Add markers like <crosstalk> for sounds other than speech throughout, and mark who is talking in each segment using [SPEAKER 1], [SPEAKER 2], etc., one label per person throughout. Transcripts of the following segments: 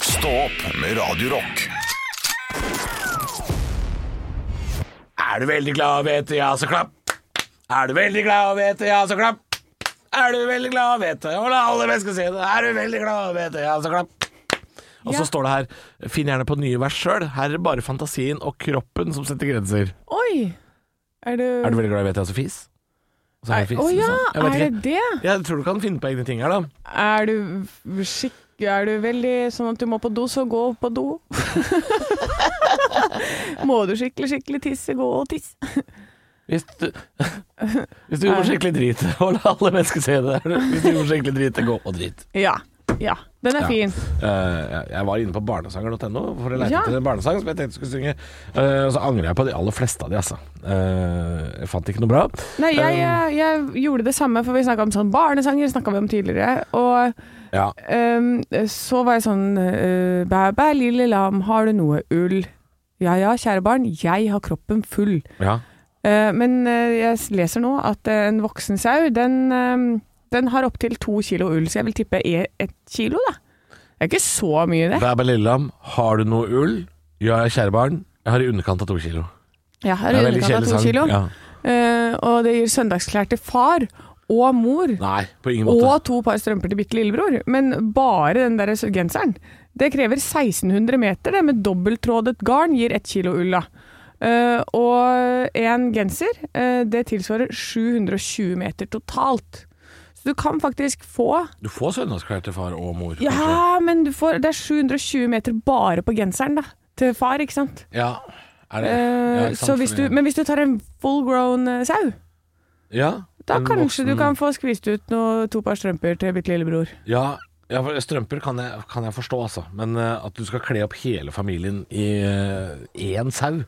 [SPEAKER 1] Stå opp med Radio Rock.
[SPEAKER 2] Er du veldig glad, vet du, ja, så klapp. Er du veldig glad, vet du, ja, så klapp. Er du veldig glad, vet du, og la alle mennesker se det. Er du veldig glad, vet du, ja, så klapp. Og
[SPEAKER 3] Ja.
[SPEAKER 2] så står det her Finn gjerne på nye vers sjøl. Her er det bare fantasien og kroppen som setter grenser.
[SPEAKER 3] Oi! Er du
[SPEAKER 2] Er du veldig glad, vet du, ja, så fis. Og så
[SPEAKER 3] Å
[SPEAKER 2] er det fis,
[SPEAKER 3] ja,
[SPEAKER 2] sånn. Jeg vet
[SPEAKER 3] er det
[SPEAKER 2] ikke.
[SPEAKER 3] det?
[SPEAKER 2] Jeg tror du kan finne på egne ting her, da.
[SPEAKER 3] Er du skikk... Er du veldig sånn at du må på do, så gå på do? <laughs> må du skikkelig, skikkelig tisse, gå og tisse.
[SPEAKER 2] Hvis du, <laughs> hvis du gjorde skikkelig drit, <laughs> og la alle mennesker se det. <laughs> Hvis du gjorde skikkelig drit, gå og drit.
[SPEAKER 3] Ja. Ja. Den er
[SPEAKER 2] Ja.
[SPEAKER 3] fin.
[SPEAKER 2] Eh, jeg var inne på barnesanger.no for å lete
[SPEAKER 3] Ja.
[SPEAKER 2] etter en barnesang som jeg tenkte jeg skulle synge. Eh, og så angrer jeg på de aller fleste av de, altså. Eh, jeg fant ikke noe bra.
[SPEAKER 3] Nei, jeg,
[SPEAKER 2] Um,
[SPEAKER 3] jeg, jeg gjorde det samme, for vi snakka om sånn barnesanger snakket vi om tidligere. Og
[SPEAKER 2] ja.
[SPEAKER 3] Ehm, så var jeg sånn eh, Bæ, bæ, lille lam, har du noe ull? Ja ja, kjære barn, jeg har kroppen full.
[SPEAKER 2] ja.
[SPEAKER 3] Eh, men eh, jeg leser nå at eh, en voksen sau, den, eh, den har opptil to kilo ull, så jeg vil tippe e- et kilo, da. Det er ikke så mye, det.
[SPEAKER 2] Bæ, bæ, lillelam, har du noe ull? Ja, kjære barn, jeg har i underkant av to kilo.
[SPEAKER 3] Ja,
[SPEAKER 2] Det
[SPEAKER 3] her
[SPEAKER 2] er
[SPEAKER 3] er
[SPEAKER 2] en veldig
[SPEAKER 3] underkant
[SPEAKER 2] kjedelig
[SPEAKER 3] av to
[SPEAKER 2] sang.
[SPEAKER 3] kilo.
[SPEAKER 2] Ja.
[SPEAKER 3] Eh, og det gir søndagsklær til far og mor.
[SPEAKER 2] Nei, på ingen måte.
[SPEAKER 3] Og to par strømper til bitte lillebror. Men bare den der genseren. Det krever 1600 meter, det, med dobbelttrådet garn gir ett kilo ull av. Eh, og en genser, eh, det tilsvarer 720 meter totalt. Så du kan faktisk få
[SPEAKER 2] Du får søndagsklær til far og mor. kanskje.
[SPEAKER 3] Ja, men du får, det er 720 meter bare på genseren, da. Til far, ikke sant?
[SPEAKER 2] ja. Er det?
[SPEAKER 3] Eh,
[SPEAKER 2] ja, ikke sant,
[SPEAKER 3] så hvis
[SPEAKER 2] fordi-
[SPEAKER 3] du, men hvis du tar en full grown eh, sau,
[SPEAKER 2] ja,
[SPEAKER 3] da
[SPEAKER 2] en
[SPEAKER 3] kanskje du
[SPEAKER 2] voksen-
[SPEAKER 3] kan få skvist ut noe, to par strømper til bitte lillebror.
[SPEAKER 2] Ja, ja for strømper kan jeg, kan jeg forstå, altså. Men eh, at du skal kle opp hele familien i eh, én sau,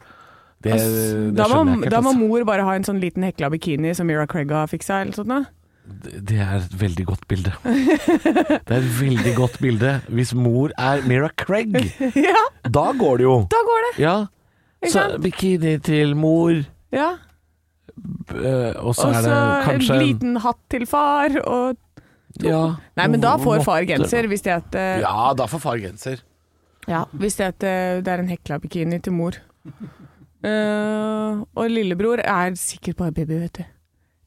[SPEAKER 2] det, det
[SPEAKER 3] da,
[SPEAKER 2] skjønner
[SPEAKER 3] må,
[SPEAKER 2] jeg ikke. helt,
[SPEAKER 3] da må
[SPEAKER 2] altså.
[SPEAKER 3] mor bare ha en sånn liten hekla bikini som Mira Craig har fiksa, eller sånt noe.
[SPEAKER 2] Det- Det er et veldig godt bilde. Det er et veldig godt bilde. Hvis mor er Mira Craig,
[SPEAKER 3] <laughs> ja,
[SPEAKER 2] da går det jo.
[SPEAKER 3] da går det!
[SPEAKER 2] Ja. Så
[SPEAKER 3] Ikke sant?
[SPEAKER 2] bikini til mor,
[SPEAKER 3] Ja.
[SPEAKER 2] eh, og så
[SPEAKER 3] Og
[SPEAKER 2] er
[SPEAKER 3] så
[SPEAKER 2] det
[SPEAKER 3] en
[SPEAKER 2] kanskje
[SPEAKER 3] liten hatt til far, og
[SPEAKER 2] ja,
[SPEAKER 3] Nei, men da får far
[SPEAKER 2] måtte-
[SPEAKER 3] genser, hvis det, at, eh,
[SPEAKER 2] Ja, da får far genser.
[SPEAKER 3] ja, hvis det, at, eh, det er en hekla bikini til mor. Eh, og lillebror er sikkert bare baby, vet du.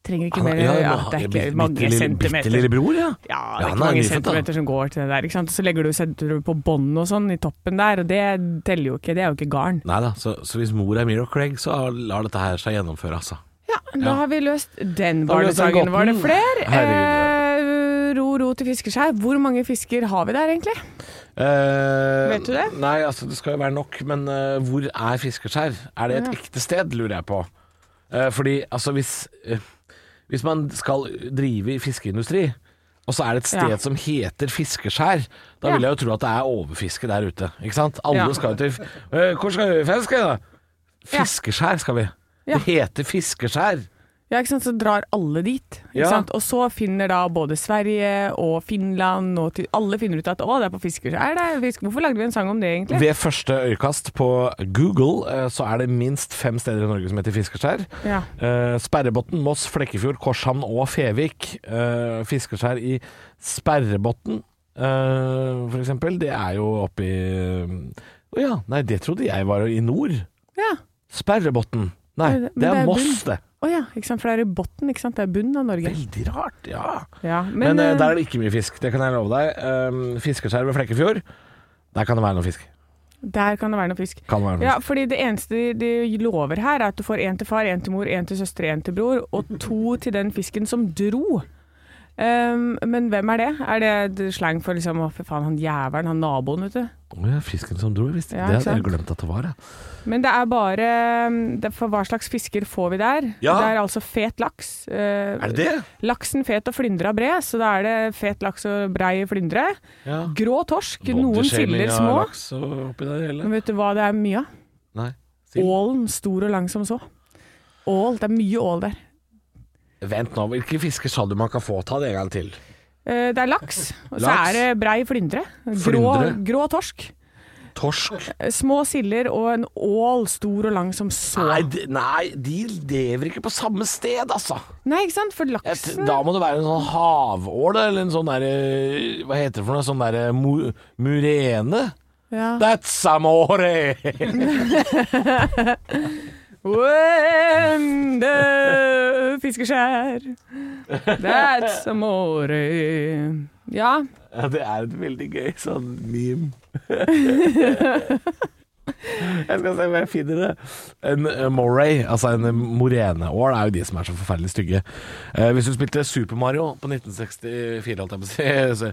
[SPEAKER 3] Trenger ikke mer. Ja, det er ikke mange
[SPEAKER 2] Bitte
[SPEAKER 3] centimeter.
[SPEAKER 2] lille bror, ja. Ja,
[SPEAKER 3] Ja, det er
[SPEAKER 2] han
[SPEAKER 3] ikke
[SPEAKER 2] er
[SPEAKER 3] mange
[SPEAKER 2] nyfødt, da.
[SPEAKER 3] centimeter som går til det der. Ikke sant? Så legger du, setter du på bånd og sånn i toppen der, og det teller jo ikke. Det er jo ikke garn.
[SPEAKER 2] Nei da, så, så hvis mor er Mira Craig, så lar dette her seg gjennomføre, altså.
[SPEAKER 3] Ja, da
[SPEAKER 2] Ja.
[SPEAKER 3] har vi løst den
[SPEAKER 2] Da har vi løst den
[SPEAKER 3] barnesangen. Var det
[SPEAKER 2] gåten.
[SPEAKER 3] flere?
[SPEAKER 2] Herregud.
[SPEAKER 3] Eh, ro, ro til fiskeskjær. Hvor mange fisker har vi der, egentlig?
[SPEAKER 2] Eh,
[SPEAKER 3] Vet du det?
[SPEAKER 2] Nei, altså det skal jo være nok, men eh, hvor er Fiskeskjær? Er det et ekte sted, lurer jeg på. Eh, fordi altså hvis eh, Hvis man skal drive i fiskeindustri, og så er det et sted
[SPEAKER 3] Ja.
[SPEAKER 2] som heter Fiskeskjær, da
[SPEAKER 3] Ja.
[SPEAKER 2] vil jeg jo tro at det er overfiske der ute, ikke sant? Alle
[SPEAKER 3] Ja.
[SPEAKER 2] skal jo til eh, Hvor skal vi fiske, da?
[SPEAKER 3] Ja.
[SPEAKER 2] Fiskeskjær skal vi.
[SPEAKER 3] Ja.
[SPEAKER 2] Det heter Fiskeskjær.
[SPEAKER 3] Ja, ikke sant? Så drar alle dit. Ikke
[SPEAKER 2] Ja.
[SPEAKER 3] sant? Og så finner da både Sverige og Finland og til, alle finner ut at å, det er på fiskeskjær. det er fisk. Hvorfor lagde vi en sang om det, egentlig?
[SPEAKER 2] Ved første øyekast på Google eh, så er det minst fem steder i Norge som heter Fiskeskjær.
[SPEAKER 3] Ja.
[SPEAKER 2] Eh, Sperrebotn, Moss, Flekkefjord, Korshamn og Fevik eh, fisker seg i Sperrebotn, eh, for eksempel. Det er jo oppe i eh, Å ja, nei, det trodde jeg var i nord.
[SPEAKER 3] ja.
[SPEAKER 2] Sperrebotn. Nei,
[SPEAKER 3] Nei, det- men
[SPEAKER 2] det
[SPEAKER 3] det
[SPEAKER 2] er
[SPEAKER 3] er
[SPEAKER 2] Moss, det.
[SPEAKER 3] Å ja, ikke sant? for det er i bunnen, ikke sant? Det er bunnen av Norge.
[SPEAKER 2] Veldig rart, ja.
[SPEAKER 3] Ja,
[SPEAKER 2] Men, eh,
[SPEAKER 3] eh,
[SPEAKER 2] der er det ikke mye fisk, det kan jeg love deg. Eh, Fiskeskjær ved Flekkefjord, der kan det være noe fisk.
[SPEAKER 3] der kan det være noe fisk.
[SPEAKER 2] Kan det være noe
[SPEAKER 3] Ja, fordi det eneste de, de lover her, er at du får én til far, én til mor, én til søster, én til bror, og to til den fisken som dro. Ehm, men hvem er det? Er det slang for liksom, å, fy faen, han jævelen, han naboen, vet du.
[SPEAKER 2] fisk. Å ja, fisken som dro, visst.
[SPEAKER 3] Ja,
[SPEAKER 2] det
[SPEAKER 3] ikke
[SPEAKER 2] hadde
[SPEAKER 3] sant?
[SPEAKER 2] jeg glemt at det var, jeg.
[SPEAKER 3] Men det er bare ehm, det, For hva slags fisker får vi der?
[SPEAKER 2] Ja.
[SPEAKER 3] Det er altså fet laks. eh,
[SPEAKER 2] Er det det?
[SPEAKER 3] Laksen fet og flyndra bred, så da er det fet laks og brei flyndre.
[SPEAKER 2] Ja.
[SPEAKER 3] Grå torsk, noen siller små. Men vet du hva det er mye av?
[SPEAKER 2] Nei.
[SPEAKER 3] Ålen stor og lang som så. Ål, det er mye ål der.
[SPEAKER 2] Vent nå, hvilke fisker sa du man kan få? Ta det en gang til.
[SPEAKER 3] Eh, Det er laks, og så
[SPEAKER 2] Laks.
[SPEAKER 3] er det brei flyndre. Grå,
[SPEAKER 2] Flyndre.
[SPEAKER 3] grå torsk.
[SPEAKER 2] Torsk?
[SPEAKER 3] Eh, Små siller og en ål stor og lang som så.
[SPEAKER 2] Nei,
[SPEAKER 3] Nei,
[SPEAKER 2] de, nei, de lever ikke på samme sted, altså.
[SPEAKER 3] ikke sant? For
[SPEAKER 2] Et,
[SPEAKER 3] laksen
[SPEAKER 2] da må det være en sånn eh, havål, eller en sånn derre Hva heter det for noe? Sånn derre mu, eh, murene?
[SPEAKER 3] Ja.
[SPEAKER 2] That's amore!
[SPEAKER 3] When the fiskeskjær That's amore Ja,
[SPEAKER 2] Ja, det er et veldig gøy sånn
[SPEAKER 3] <laughs>
[SPEAKER 2] meme. jeg skal se om jeg finner det. En eh, moray, altså en moreneål, er jo de som er så forferdelig stygge. Eh, hvis du spilte Super Mario på 1964, holdt jeg på å si eh, så-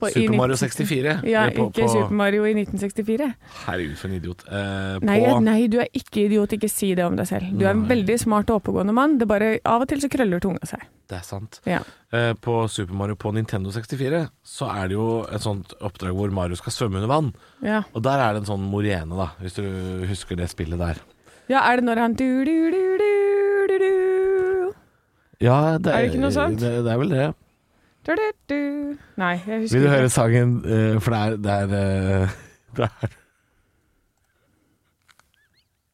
[SPEAKER 3] På- i
[SPEAKER 2] Super Mario
[SPEAKER 3] 1960
[SPEAKER 2] 64.
[SPEAKER 3] ja
[SPEAKER 2] eh, på,
[SPEAKER 3] ikke
[SPEAKER 2] på,
[SPEAKER 3] Super Mario i 1964
[SPEAKER 2] Herregud, for en idiot. Eh,
[SPEAKER 3] nei,
[SPEAKER 2] på,
[SPEAKER 3] nei, du er ikke idiot, ikke si det om deg selv Du er en veldig smart og oppegående mann Det er bare av og til så krøller tunga seg
[SPEAKER 2] Det er sant.
[SPEAKER 3] Ja,
[SPEAKER 2] Eh, på Super Mario på Nintendo 64 så er det jo et sånt oppdrag hvor Mario skal svømme under vann.
[SPEAKER 3] ja.
[SPEAKER 2] Og der er det en sånn morene, da, hvis du husker det spillet der.
[SPEAKER 3] ja er det når han du, du, du, du, du, du,
[SPEAKER 2] Ja, det
[SPEAKER 3] Er det ikke noe sånt?
[SPEAKER 2] Det, det er vel det.
[SPEAKER 3] du, du, du. Nei, jeg husker
[SPEAKER 2] Vil du
[SPEAKER 3] ikke.
[SPEAKER 2] høre sangen eh, For det er det er, eh, <laughs> det er,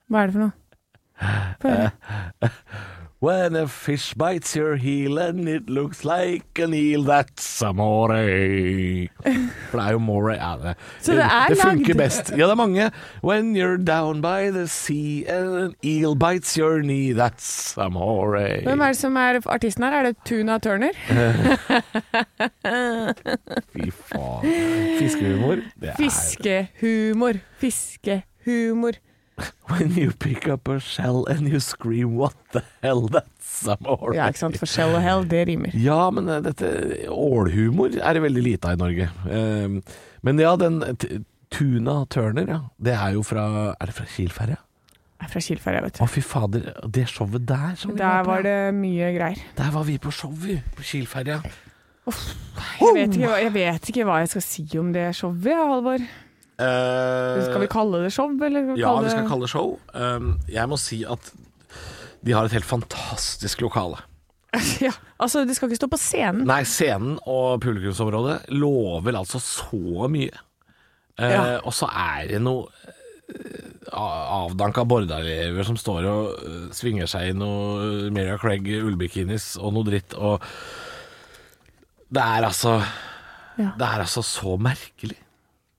[SPEAKER 3] Hva er det for
[SPEAKER 2] <laughs>
[SPEAKER 3] noe? Få
[SPEAKER 2] Eh,
[SPEAKER 3] høre.
[SPEAKER 2] When a fish bites your heel and it looks like an eel, that's amore. For det er jo more ja, det.
[SPEAKER 3] Så det er
[SPEAKER 2] det funker
[SPEAKER 3] lagd.
[SPEAKER 2] best. Ja, det er mange. When you're down by the sea and an eel bites your knee, that's amore.
[SPEAKER 3] Hvem er det som er artisten her? Er det Tuna Turner?
[SPEAKER 2] <laughs> Fy faen. Fiskehumor. Det er
[SPEAKER 3] Fiskehumor. Fiskehumor.
[SPEAKER 2] When you pick up a shell and you scream what the hell, that's amore.
[SPEAKER 3] Ja, ikke sant? For Shell og Hell, det rimer.
[SPEAKER 2] Ja, men eh, dette ålhumor er det veldig lite av i Norge. Eh, Men ja, den t- Tuna Turner, ja. Det er jo fra Er det fra Kielferja?
[SPEAKER 3] Jeg er fra Kilferja, vet
[SPEAKER 2] Å,
[SPEAKER 3] du.
[SPEAKER 2] fy fader. Det showet der som vi var
[SPEAKER 3] Der
[SPEAKER 2] på.
[SPEAKER 3] var
[SPEAKER 2] ja.
[SPEAKER 3] det mye greier.
[SPEAKER 2] Der var vi på show, vi. På Kielferja.
[SPEAKER 3] Jeg vet ikke, hva- jeg vet ikke hva jeg skal si om det showet, ja, Halvor. Skal vi kalle det show, eller? skal
[SPEAKER 2] Eh,
[SPEAKER 3] vi
[SPEAKER 2] Ja,
[SPEAKER 3] kalle
[SPEAKER 2] vi skal
[SPEAKER 3] det-
[SPEAKER 2] kalle det show. Um, Jeg må si at de har et helt fantastisk lokale.
[SPEAKER 3] <laughs> ja, Altså, det skal ikke stå på scenen.
[SPEAKER 2] Nei, scenen og publikumsområdet lover altså så mye. Eh,
[SPEAKER 3] Ja.
[SPEAKER 2] Og så er det noe eh, a- avdanka Bordaelever som står og eh, svinger seg i noe Mira Craig ullbikinis og noe dritt, og Det er altså
[SPEAKER 3] Ja.
[SPEAKER 2] Det er altså så merkelig.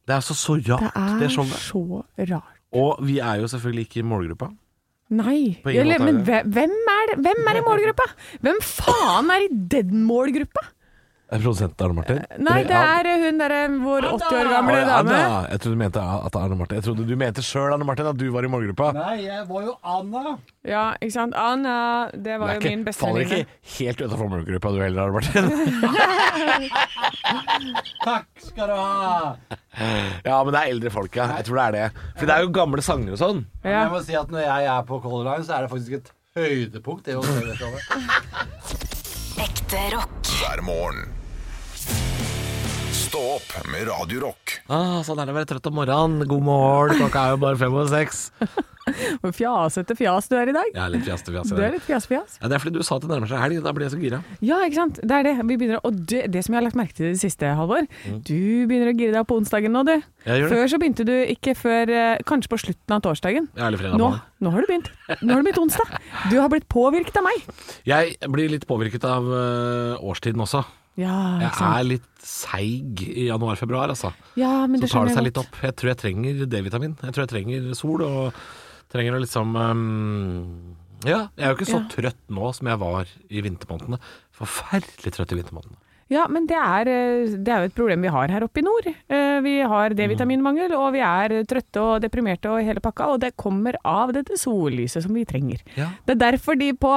[SPEAKER 2] Det er sånn- altså så
[SPEAKER 3] Det
[SPEAKER 2] rart, det,
[SPEAKER 3] er
[SPEAKER 2] showet.
[SPEAKER 3] så rart.
[SPEAKER 2] Og vi er jo selvfølgelig ikke i målgruppa.
[SPEAKER 3] Nei.
[SPEAKER 2] På ingen
[SPEAKER 3] Eller,
[SPEAKER 2] måte er
[SPEAKER 3] men
[SPEAKER 2] det.
[SPEAKER 3] hve- hvem er, det? hvem er i målgruppa? Hvem faen er i den målgruppa?
[SPEAKER 2] Er produsenten Arne Martin?
[SPEAKER 3] Eh, Nei, det er hun derre vår 80 år gamle dame.
[SPEAKER 2] Jeg trodde du mente at Arne Martin Jeg trodde du mente sjøl, Arne Martin, at du var i målgruppa.
[SPEAKER 4] Nei, jeg var jo Anna.
[SPEAKER 3] Ja, ikke sant. Anna, det
[SPEAKER 2] Det
[SPEAKER 3] var
[SPEAKER 2] er
[SPEAKER 3] jo
[SPEAKER 2] ikke-
[SPEAKER 3] min
[SPEAKER 2] Faller
[SPEAKER 3] bestevenninne.
[SPEAKER 2] ikke helt utafor målgruppa du heller, Arne Martin. <laughs>
[SPEAKER 4] Takk skal du ha.
[SPEAKER 2] ja, men det er eldre folk, ja. Jeg tror det er det. For det er jo gamle sanger og sånn.
[SPEAKER 3] Ja.
[SPEAKER 4] Jeg må si at når jeg er på Color Line, så er det faktisk et høydepunkt. Det å se det showet.
[SPEAKER 5] Ekte rock.
[SPEAKER 1] hver morgen. Stå opp med Radio Rock.
[SPEAKER 2] Ah, sånn er det å være trøtt om morgenen. God morgen, klokka er jo bare fem og seks.
[SPEAKER 3] Hvor Fjasete fjas du er i dag.
[SPEAKER 2] Jeg er litt fjaste, fjaste.
[SPEAKER 3] Du er litt fjas-fjas.
[SPEAKER 2] Ja, det er fordi du sa at det nærmer seg helg, da blir jeg så gira.
[SPEAKER 3] Ja, ikke sant. Det er det. Vi begynner, å- og det, det som jeg har lagt merke til i det siste, Halvor. Du begynner å gire deg opp på onsdagen nå, du.
[SPEAKER 2] Jeg Mm. gjør det.
[SPEAKER 3] Før så begynte du ikke før eh, kanskje på slutten av torsdagen.
[SPEAKER 2] Jeg er litt fredag
[SPEAKER 3] Nå,
[SPEAKER 2] morgen.
[SPEAKER 3] nå har du begynt. Nå har du begynt onsdag. Du har blitt påvirket av meg.
[SPEAKER 2] Jeg blir litt påvirket av øh, årstiden også.
[SPEAKER 3] Ja,
[SPEAKER 2] Jeg
[SPEAKER 3] ikke sant.
[SPEAKER 2] er litt seig i januar-februar, altså.
[SPEAKER 3] Ja, men
[SPEAKER 2] Så tar det
[SPEAKER 3] det skjønner
[SPEAKER 2] seg
[SPEAKER 3] jeg
[SPEAKER 2] litt opp. Jeg tror jeg trenger D-vitamin. Jeg tror jeg trenger sol og trenger å liksom ehm, Ja, jeg er jo ikke så
[SPEAKER 3] Ja.
[SPEAKER 2] trøtt nå som jeg var i vintermånedene. Forferdelig trøtt i vintermånedene.
[SPEAKER 3] Ja, men det er, eh, det er jo et problem vi har her oppe i nord. Eh, Vi har D-vitaminmangel, og vi er trøtte og deprimerte og hele pakka, og det kommer av dette sollyset som vi trenger.
[SPEAKER 2] Ja.
[SPEAKER 3] Det er derfor de på,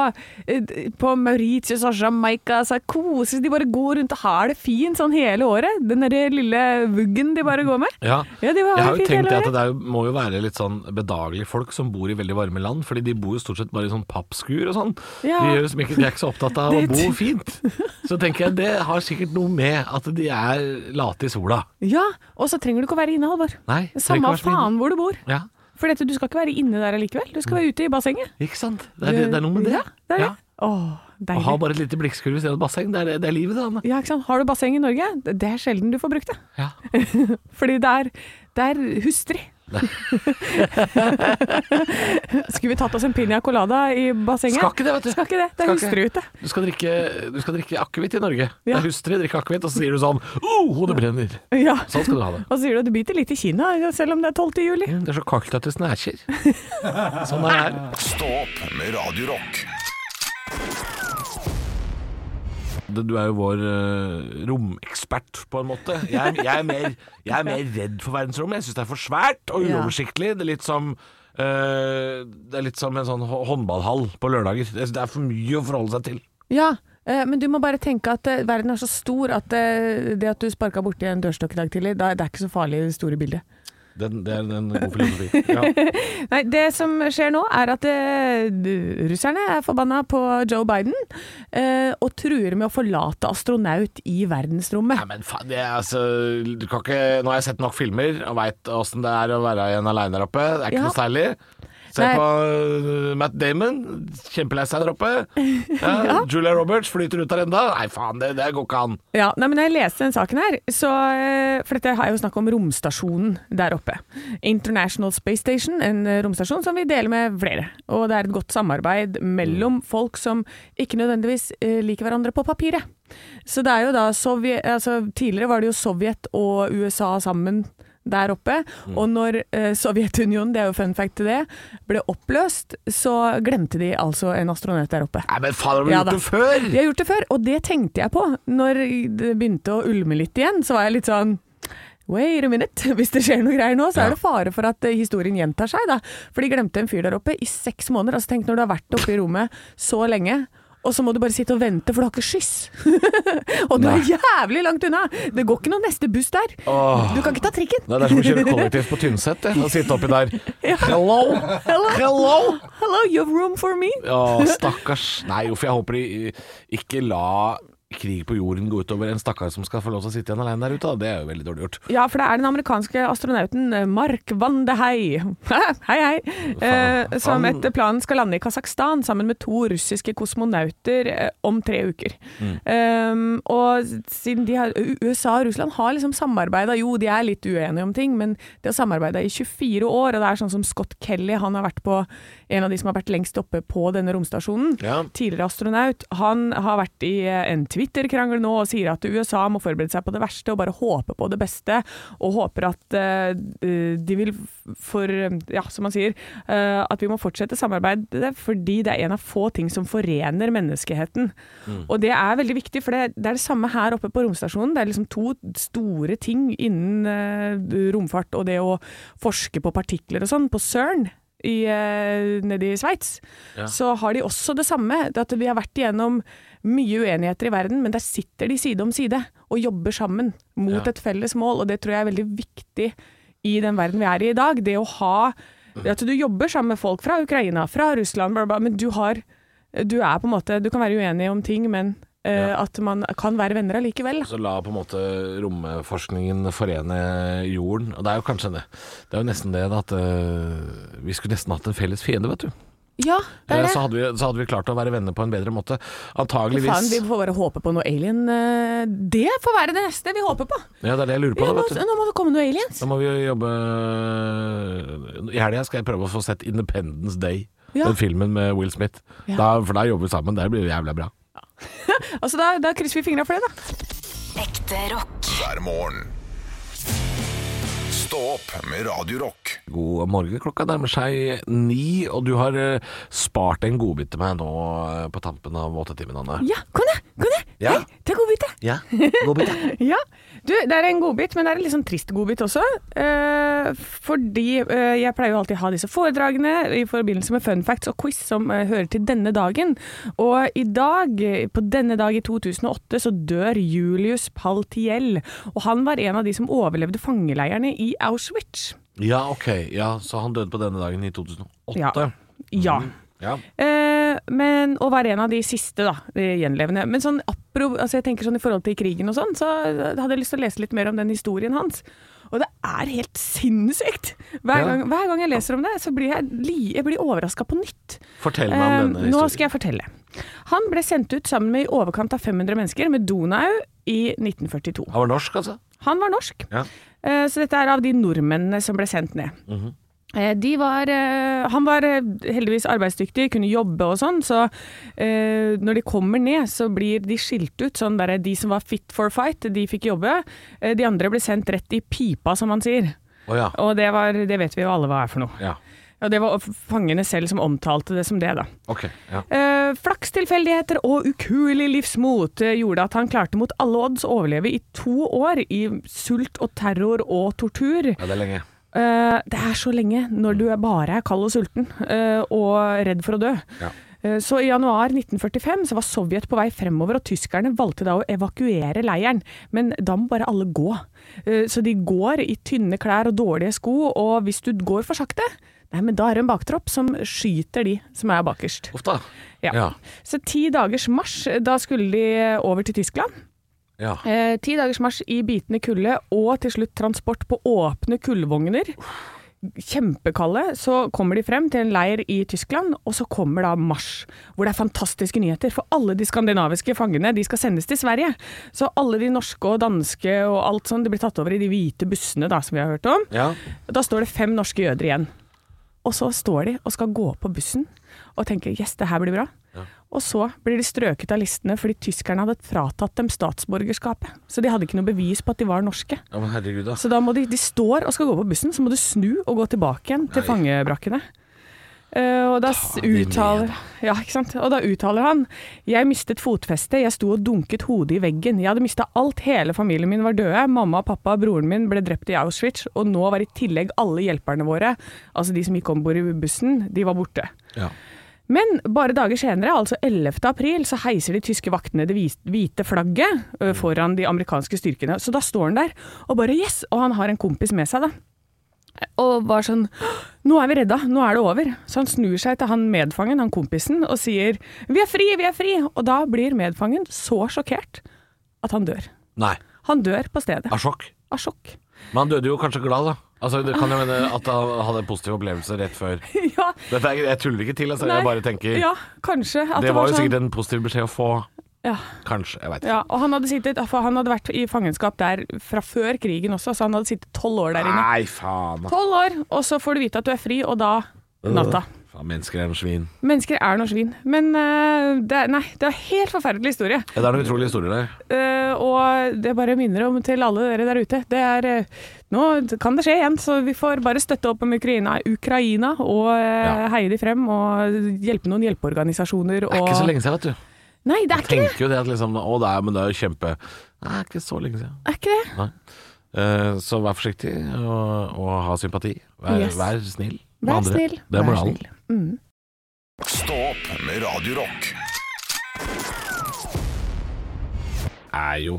[SPEAKER 3] eh, på Mauritius og Jamaica så koser de bare går rundt og har det fint sånn hele året. Den der lille vuggen de bare går med.
[SPEAKER 2] Ja.
[SPEAKER 3] Ja, de
[SPEAKER 2] Jeg
[SPEAKER 3] har
[SPEAKER 2] har jo
[SPEAKER 3] det fint
[SPEAKER 2] tenkt
[SPEAKER 3] hele
[SPEAKER 2] det at
[SPEAKER 3] året.
[SPEAKER 2] det er jo- må jo være litt sånn bedagelige folk som bor i veldig varme land, fordi de bor jo stort sett bare i sånn pappskur og sånn.
[SPEAKER 3] Ja.
[SPEAKER 2] De, gjør liksom ikke, de er ikke så opptatt av å
[SPEAKER 3] <laughs> Det-
[SPEAKER 2] bo fint. Så tenker jeg det har sikkert noe med at de er late i sola.
[SPEAKER 3] Ja, og så trenger du ikke å være inne, Halvor.
[SPEAKER 2] Nei, trenger ikke
[SPEAKER 3] Samme
[SPEAKER 2] å være så mye
[SPEAKER 3] faen hvor du bor.
[SPEAKER 2] Ja,
[SPEAKER 3] For dette, du skal ikke være inne der allikevel. Du skal være ute i bassenget.
[SPEAKER 2] ikke sant? Det er, det er noe med det.
[SPEAKER 3] Ja, det er det.
[SPEAKER 2] Ja.
[SPEAKER 3] Åh,
[SPEAKER 2] Å
[SPEAKER 3] deilig.
[SPEAKER 2] ha bare et lite blikkskur ved siden av et basseng, det er, det er livet, det, Anne.
[SPEAKER 3] Ja, ikke sant? Har du basseng i Norge? Det det er sjelden du får brukt det.
[SPEAKER 2] Ja. <laughs>
[SPEAKER 3] Fordi det er, det er hustrig. Skulle vi tatt oss en piña colada i bassenget?
[SPEAKER 2] Skal ikke det, vet du.
[SPEAKER 3] Skal ikke det. Det er
[SPEAKER 2] Skal ikke.
[SPEAKER 3] hustrute.
[SPEAKER 2] Du skal drikke, du skal drikke akevitt i Norge. Det
[SPEAKER 3] Ja.
[SPEAKER 2] er hustru, drikke akevitt, og så sier du sånn oh, hodet brenner.
[SPEAKER 3] Ja.
[SPEAKER 2] Sånn skal du ha det.
[SPEAKER 3] Og så sier du at du biter litt i Kina, selv om det er 12. juli.
[SPEAKER 2] Mm, Det er så kaldt at det snæsjer. Sånn er det her.
[SPEAKER 1] Stå opp med Radio Rock.
[SPEAKER 2] Det- Du er jo vår eh, romekspert, på en måte. Jeg er, jeg er, mer, jeg er mer redd for verdensrommet. Jeg syns det er for svært og
[SPEAKER 3] Ja.
[SPEAKER 2] uoversiktlig. Det er litt som eh, det er litt som en sånn hå- håndballhall på lørdager. Jeg synes Det er for mye å forholde seg til.
[SPEAKER 3] Ja, eh, men du må bare tenke at eh, verden er så stor at eh, det at du sparka borti en dørstokk i dag tidlig, da, det er ikke så farlig i det store bildet.
[SPEAKER 2] Den, det er en god
[SPEAKER 3] <laughs>
[SPEAKER 2] filosofi. Ja.
[SPEAKER 3] Nei, det som skjer nå er at eh, d- russerne er forbanna på Joe Biden eh, og truer med å forlate astronaut i verdensrommet.
[SPEAKER 2] Nei, men faen, det er altså du kan ikke, Nå har jeg sett nok filmer og veit åssen det er å være igjen aleine der oppe. Det er ikke
[SPEAKER 3] Ja.
[SPEAKER 2] noe særlig. Se
[SPEAKER 3] Nei.
[SPEAKER 2] på uh, Matt Damon, kjempelei seg der oppe.
[SPEAKER 3] <laughs>
[SPEAKER 2] Ja, Julia Roberts flyter ut der enda. Nei, faen, det, det går ikke an.
[SPEAKER 3] Ja, nei, men når jeg leste den saken her, så eh, For dette har jeg jo snakk om romstasjonen der oppe. International Space Station, en eh, romstasjon som vi deler med flere. Og det er et godt samarbeid mellom folk som ikke nødvendigvis eh, liker hverandre på papiret. Så det er jo da Sovjet Altså tidligere var det jo Sovjet og USA sammen der oppe. Og når eh, Sovjetunionen, det er jo fun fact til det, ble oppløst, så glemte de altså en astronaut der oppe.
[SPEAKER 2] Nei, men faen, har du
[SPEAKER 3] Ja da.
[SPEAKER 2] gjort det før?
[SPEAKER 3] Jeg har gjort det før, og det tenkte jeg på. Når det begynte å ulme litt igjen, så var jeg litt sånn Wait a minute, <laughs> hvis det skjer noe greier nå, så er det fare for at eh, historien gjentar seg, da. For de glemte en fyr der oppe i seks måneder. Altså tenk når du har vært oppe i rommet så lenge. Og så må du bare sitte og vente, for du har ikke skyss. <laughs> og du er jævlig langt unna! Det går ikke noen neste buss der.
[SPEAKER 2] Åh.
[SPEAKER 3] Du kan ikke ta trikken.
[SPEAKER 2] Nei, det er som å kjøre
[SPEAKER 3] <laughs>
[SPEAKER 2] kollektivt på Tynset det, og sitte oppi der. Hello!
[SPEAKER 3] Hello,
[SPEAKER 2] Hello!
[SPEAKER 3] hello, you have room for me?
[SPEAKER 2] Ja, stakkars. Nei, uff, jeg håper de eh, ikke la krig på jorden gå utover en stakkar som skal få lov til å sitte igjen alene der ute. da. Det er jo veldig dårlig gjort.
[SPEAKER 3] Ja, for det er den amerikanske astronauten eh, Mark Van de Hei, <laughs> hei, hei eh, som
[SPEAKER 2] han-
[SPEAKER 3] etter planen skal lande i Kasakhstan sammen med to russiske kosmonauter eh, om tre uker. Um, og siden de har, USA og Russland har liksom samarbeida, jo de er litt uenige om ting, men de har samarbeida i 24 år, og det er sånn som Scott Kelly, han har vært på en av de som har vært lengst oppe på denne romstasjonen
[SPEAKER 2] Ja.
[SPEAKER 3] tidligere astronaut, han har vært i eh, en Twitter-krangel nå og sier at USA må forberede seg på det verste og bare håpe på det beste, og håper at eh, de vil for Ja, som han sier, eh, at vi må fortsette samarbeidet fordi det er en av få ting som forener menneskeheten. Og det er veldig viktig, for det, det er det samme her oppe på romstasjonen. Det er liksom to store ting innen eh, romfart og det å forske på partikler og sånn, på CERN i, eh, nede i Sveits, så har de også det samme. det At vi har vært igjennom mye uenigheter i verden, men der sitter de side om side og jobber sammen mot
[SPEAKER 2] Ja.
[SPEAKER 3] et felles mål. Og det tror jeg er veldig viktig i den verden vi er i i dag. Det å ha
[SPEAKER 2] Mm.
[SPEAKER 3] At du jobber sammen med folk fra Ukraina, fra Russland, bla, bla, bla, men du har Du er på en måte Du kan være uenig om ting, men eh, at man kan være venner allikevel. da.
[SPEAKER 2] Så la på en måte romforskningen forene jorden. Og det er jo kanskje det. Det er jo nesten det da, at eh, vi skulle nesten hatt en felles fiende, vet du.
[SPEAKER 3] Ja, det
[SPEAKER 2] Eh,
[SPEAKER 3] er det.
[SPEAKER 2] Så, hadde vi, så hadde vi klart å være venner på en bedre måte.
[SPEAKER 3] Faen,
[SPEAKER 2] Antageligvis.
[SPEAKER 3] vi får bare håpe på noe alien. eh, Det får være det neste vi håper på.
[SPEAKER 2] Ja, det er det jeg lurer på.
[SPEAKER 3] Ja,
[SPEAKER 2] Da,
[SPEAKER 3] nå,
[SPEAKER 2] vet du.
[SPEAKER 3] nå må det komme noen aliens.
[SPEAKER 2] Da må vi jo jobbe I helga skal jeg prøve å få sett Independence Day.
[SPEAKER 3] Ja.
[SPEAKER 2] Den filmen med Will Smith.
[SPEAKER 3] Ja.
[SPEAKER 2] Da, for da jobber vi sammen. Det blir jævla bra.
[SPEAKER 3] Altså, da, da krysser vi fingra for det, da.
[SPEAKER 5] Ekte rock.
[SPEAKER 1] hver morgen. Stå opp med Radio Rock.
[SPEAKER 2] God morgen, klokka nærmer seg ni, og du har eh, spart en godbit til meg nå eh, på tampen av åttetimen, Anne.
[SPEAKER 3] Ja, kom da! Kom da!
[SPEAKER 2] Ja.
[SPEAKER 3] Hei, ta godbit, da!
[SPEAKER 2] Ja, godbit, ja.
[SPEAKER 3] Ja. Du, det er en godbit, men det er en litt sånn trist godbit også. Eh, fordi eh, jeg pleier jo alltid å ha disse foredragene i forbindelse med fun facts og quiz som eh, hører til denne dagen. Og i dag, eh, på denne dag i 2008, så dør Julius Paltiel. Og han var en av de som overlevde fangeleirene i Auschwitz.
[SPEAKER 2] <laughs> Ja, ok. Ja, så han døde på denne dagen i 2008.
[SPEAKER 3] Ja. Ja.
[SPEAKER 2] Mm. Ja.
[SPEAKER 3] Eh, men, og var en av de siste da, de gjenlevende. Men sånn, apro, altså jeg tenker sånn i forhold til krigen og sånn, så hadde jeg lyst til å lese litt mer om den historien hans. Og det er helt sinnssykt! Hver,
[SPEAKER 2] Ja.
[SPEAKER 3] gang, hver gang jeg leser om det, så blir jeg, li- jeg blir overraska på nytt.
[SPEAKER 2] Fortell meg om
[SPEAKER 3] Eh,
[SPEAKER 2] denne
[SPEAKER 3] Nå
[SPEAKER 2] historien.
[SPEAKER 3] skal jeg fortelle. Han ble sendt ut sammen med i overkant av 500 mennesker med Donau i 1942.
[SPEAKER 2] Han var norsk, altså?
[SPEAKER 3] Han var norsk.
[SPEAKER 2] Ja.
[SPEAKER 3] Eh, Så dette er av de nordmennene som ble sendt ned.
[SPEAKER 2] Mhm.
[SPEAKER 3] Eh, De var, eh, han var eh, heldigvis arbeidsdyktig, kunne jobbe og sånn, så eh, når de kommer ned, så blir de skilt ut. Sånn der, de som var fit for fight, de fikk jobbe. Eh, De andre ble sendt rett i pipa, som man sier.
[SPEAKER 2] Å ja.
[SPEAKER 3] Og det, var, det vet vi jo alle hva er for noe.
[SPEAKER 2] ja.
[SPEAKER 3] Og det var fangene selv som omtalte det som det, da.
[SPEAKER 2] Ok. Ja.
[SPEAKER 3] Eh, Flakstilfeldigheter og ukuelig livsmot eh, gjorde at han klarte mot alle odds å overleve i to år i sult og terror og tortur.
[SPEAKER 2] ja, det er lenge.
[SPEAKER 3] Eh, det er så lenge når du er bare er kald og sulten eh, og redd for å dø.
[SPEAKER 2] Ja.
[SPEAKER 3] Eh, Så i januar 1945 så var Sovjet på vei fremover, og tyskerne valgte da å evakuere leiren. Men da må bare alle gå. Eh, Så de går i tynne klær og dårlige sko, og hvis du går for sakte, nei, men da er det en baktropp som skyter de som er bakerst.
[SPEAKER 2] Uff da.
[SPEAKER 3] Ja.
[SPEAKER 2] Ja.
[SPEAKER 3] Så ti dagers marsj, da skulle de over til Tyskland.
[SPEAKER 2] ja.
[SPEAKER 3] Eh, ti dagers marsj i bitende kulde, og til slutt transport på åpne kullvogner. Kjempekalde. Så kommer de frem til en leir i Tyskland, og så kommer da mars, hvor det er fantastiske nyheter. For alle de skandinaviske fangene de skal sendes til Sverige. Så alle de norske og danske og alt sånn, de blir tatt over i de hvite bussene da, som vi har hørt om.
[SPEAKER 2] ja.
[SPEAKER 3] Da står det fem norske jøder igjen. Og så står de og skal gå på bussen og tenker yes, det her blir bra. Og så blir de strøket av listene fordi tyskerne hadde fratatt dem statsborgerskapet. Så de hadde ikke noe bevis på at de var norske.
[SPEAKER 2] Ja, men herregud, altså. da.
[SPEAKER 3] Så da må de, de står og skal gå på bussen, så må du snu og gå tilbake igjen til fangebrakkene. Eh, og, da s-
[SPEAKER 2] Ta de med,
[SPEAKER 3] uttaler, ja, ikke sant? og da uttaler han Jeg mistet fotfestet, jeg sto og dunket hodet i veggen. Jeg hadde mista alt, hele familien min var døde. Mamma, pappa og broren min ble drept i Auschwitz. Og nå var i tillegg alle hjelperne våre, altså de som gikk om bord i bussen, de var borte.
[SPEAKER 2] Ja.
[SPEAKER 3] Men bare dager senere, altså 11. april, så heiser de tyske vaktene det vis- hvite flagget
[SPEAKER 2] Mm.
[SPEAKER 3] ø, foran de amerikanske styrkene. Så da står han der og bare yes! Og han har en kompis med seg, da. Og var sånn Nå er vi redda, nå er det over. Så han snur seg til han medfangen, han kompisen, og sier Vi er fri, vi er fri! Og da blir medfangen så sjokkert at han dør.
[SPEAKER 2] Nei.
[SPEAKER 3] Han dør på stedet.
[SPEAKER 2] Av sjokk.
[SPEAKER 3] Av sjokk. <laughs>
[SPEAKER 2] Men han døde jo kanskje glad, da. Altså, det kan jeg mene at han hadde en positiv opplevelse rett før.
[SPEAKER 3] ja,
[SPEAKER 2] Dette er, jeg tuller ikke til, altså.
[SPEAKER 3] nei,
[SPEAKER 2] Jeg bare tenker
[SPEAKER 3] Ja, kanskje. At
[SPEAKER 2] Det var jo
[SPEAKER 3] sånn-
[SPEAKER 2] sikkert en positiv beskjed å få.
[SPEAKER 3] Ja.
[SPEAKER 2] Kanskje. Jeg veit ikke.
[SPEAKER 3] Ja, og han hadde, sittet, for han hadde vært i fangenskap der fra før krigen også, så han hadde sittet tolv år der inne.
[SPEAKER 2] Nei, faen. da.
[SPEAKER 3] Tolv år, og så får du vite at du er fri, og da
[SPEAKER 2] Øh.
[SPEAKER 3] natta.
[SPEAKER 2] Faen, mennesker er noen svin.
[SPEAKER 3] Mennesker er noe svin. Men eh, det, er- nei, det er en helt forferdelig historie.
[SPEAKER 2] Ja, det er noen utrolige historier der.
[SPEAKER 3] Eh, og det bare minner om til alle dere der ute. Det er eh, Nå kan det skje igjen, så vi får bare støtte opp om Ukraina, Ukraina og eh,
[SPEAKER 2] Ja.
[SPEAKER 3] heie de frem. Og hjelpe noen hjelpeorganisasjoner og
[SPEAKER 2] Det er ikke så lenge siden, vet du.
[SPEAKER 3] Nei, det er
[SPEAKER 2] Jeg
[SPEAKER 3] ikke det.
[SPEAKER 2] tenker jo det at liksom Å, det er, men det er jo kjempe Nei, det er ikke så lenge siden.
[SPEAKER 3] Er ikke det.
[SPEAKER 2] Nei. Eh, så vær forsiktig, og, og ha sympati. Vær,
[SPEAKER 3] Yes.
[SPEAKER 2] vær snill med
[SPEAKER 3] Vær
[SPEAKER 2] andre.
[SPEAKER 3] snill.
[SPEAKER 2] Det er
[SPEAKER 3] Vær
[SPEAKER 2] moralen.
[SPEAKER 3] snill. Mm.
[SPEAKER 1] Stå opp med Radio Rock.
[SPEAKER 2] er jo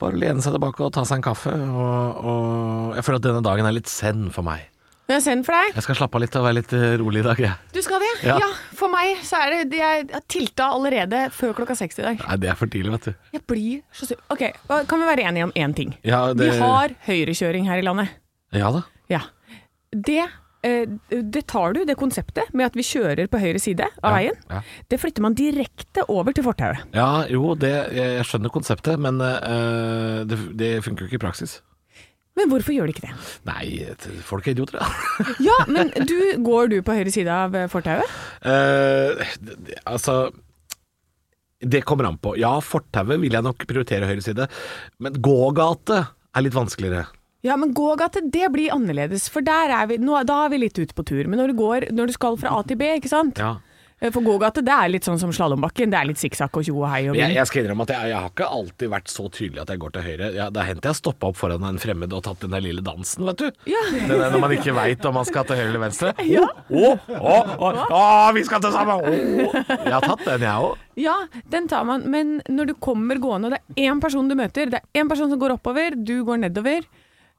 [SPEAKER 2] bare å lene seg tilbake og ta seg en kaffe. Og, og jeg føler at denne dagen er litt zen for meg.
[SPEAKER 3] Det er send for deg.
[SPEAKER 2] Jeg skal slappe av litt og være litt eh, rolig i dag. jeg.
[SPEAKER 3] Du skal det?
[SPEAKER 2] Ja.
[SPEAKER 3] Ja. for meg så er det de- Jeg tilta allerede før klokka seks i dag.
[SPEAKER 2] Nei, det er for tidlig, vet du.
[SPEAKER 3] Jeg blir så sur. OK, hva- kan vi være enige om én ting?
[SPEAKER 2] Ja, det,
[SPEAKER 3] Vi har høyrekjøring her i landet.
[SPEAKER 2] Ja da.
[SPEAKER 3] Ja. Det, eh, det tar du, det konseptet med at vi kjører på høyre side av
[SPEAKER 2] Ja,
[SPEAKER 3] veien.
[SPEAKER 2] ja.
[SPEAKER 3] Det flytter man direkte over til fortauet.
[SPEAKER 2] Ja, jo, det, jeg, jeg skjønner konseptet, men eh, det, det funker jo ikke i praksis.
[SPEAKER 3] Men hvorfor gjør de ikke det?
[SPEAKER 2] Nei, folk er idioter, ja.
[SPEAKER 3] Ja, <laughs> men du, går du på høyre side av eh, fortauet?
[SPEAKER 2] Eh, det- det- altså Det kommer an på. Ja, fortauet vil jeg nok prioritere høyre side, men gågate er litt vanskeligere.
[SPEAKER 3] Ja, men gågate, det blir annerledes. For der er vi, nå, da er vi litt ute på tur. Men når du, går, når du skal fra A til B, ikke sant?
[SPEAKER 2] Ja.
[SPEAKER 3] Eh, For gågate det er litt sånn som slalåmbakken. Det er litt sikksakk og tjo og hei og
[SPEAKER 2] Jeg,
[SPEAKER 3] vinn.
[SPEAKER 2] jeg skal innrømme at jeg, jeg har ikke alltid vært så tydelig at jeg går til høyre. Ja, det har hendt jeg har stoppa opp foran en fremmed og tatt den der lille dansen, vet du.
[SPEAKER 3] Ja.
[SPEAKER 2] Den der når man ikke veit om man skal til høyre eller <laughs> venstre.
[SPEAKER 3] Ja.
[SPEAKER 2] Å, å, å, å, vi skal til sammen! Å. Jeg har tatt den, jeg òg.
[SPEAKER 3] ja, den tar man. Men når du kommer gående, og det er én person du møter, det er én person som går oppover, du går nedover,